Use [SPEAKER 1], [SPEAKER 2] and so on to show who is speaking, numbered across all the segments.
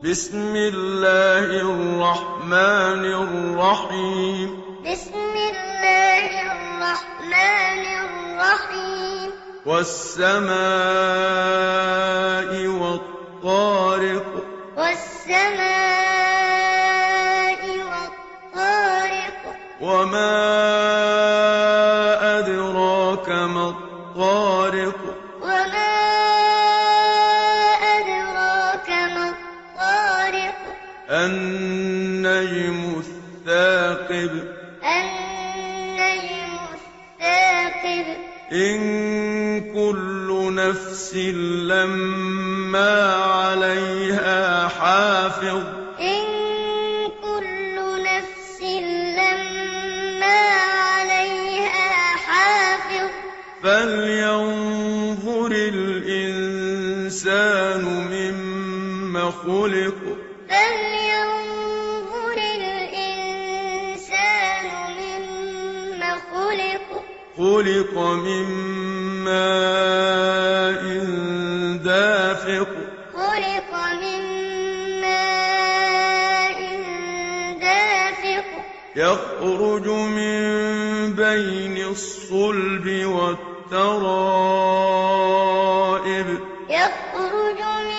[SPEAKER 1] بسم الله الرحمن الرحيم
[SPEAKER 2] بسم الله الرحمن الرحيم
[SPEAKER 1] والسماء والطارق
[SPEAKER 2] والسماء والطارق
[SPEAKER 1] وما أدراك ما الطارق
[SPEAKER 2] وما أدراك ما الطارق
[SPEAKER 1] النجم الثاقب
[SPEAKER 2] النجم الثاقب
[SPEAKER 1] إن كل نفس لما عليها حافظ
[SPEAKER 2] إن كل نفس لما عليها حافظ
[SPEAKER 1] فلينظر الإنسان مما خلق
[SPEAKER 2] فلينظر الإنسان مما خلق
[SPEAKER 1] خلق من ماء دافق
[SPEAKER 2] خلق من ماء دافق
[SPEAKER 1] يخرج من بين الصلب والترائب
[SPEAKER 2] يخرج من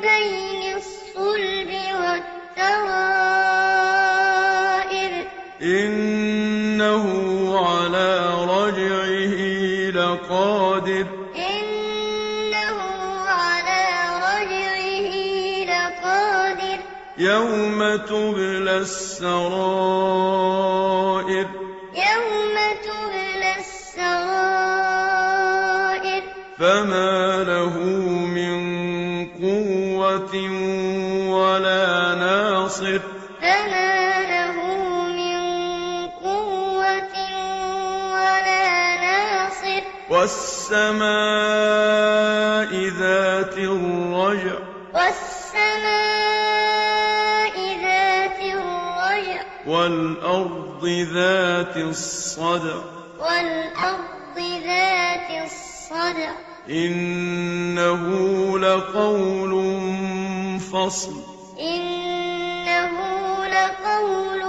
[SPEAKER 2] بين الصلب والترائب
[SPEAKER 1] إنه على رجعه لقادر
[SPEAKER 2] إنه على رجعه لقادر
[SPEAKER 1] يوم تبلى السرائر
[SPEAKER 2] يوم تبلى السرائر
[SPEAKER 1] فما له من قوة ولا ناصر
[SPEAKER 2] فما له من قوة ولا ناصر
[SPEAKER 1] والسماء ذات الرجع
[SPEAKER 2] والسماء ذات الرجع
[SPEAKER 1] والأرض ذات الصدع
[SPEAKER 2] والأرض ذات الصدع
[SPEAKER 1] إنه لقول فصل
[SPEAKER 2] إنه لقول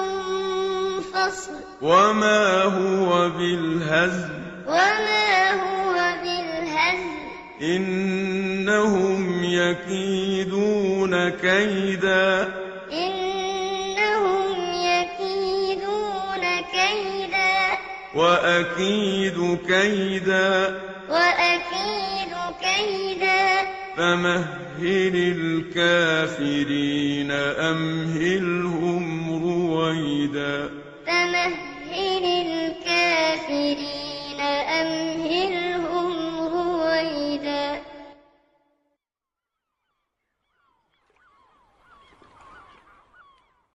[SPEAKER 2] فصل
[SPEAKER 1] وما هو بالهزل
[SPEAKER 2] وما هو بالهزل
[SPEAKER 1] إنهم يكيدون كيدا
[SPEAKER 2] إنهم يكيدون كيدا
[SPEAKER 1] وأكيد كيدا
[SPEAKER 2] وأكيد كيدا
[SPEAKER 1] فمهل الكافرين أمهلهم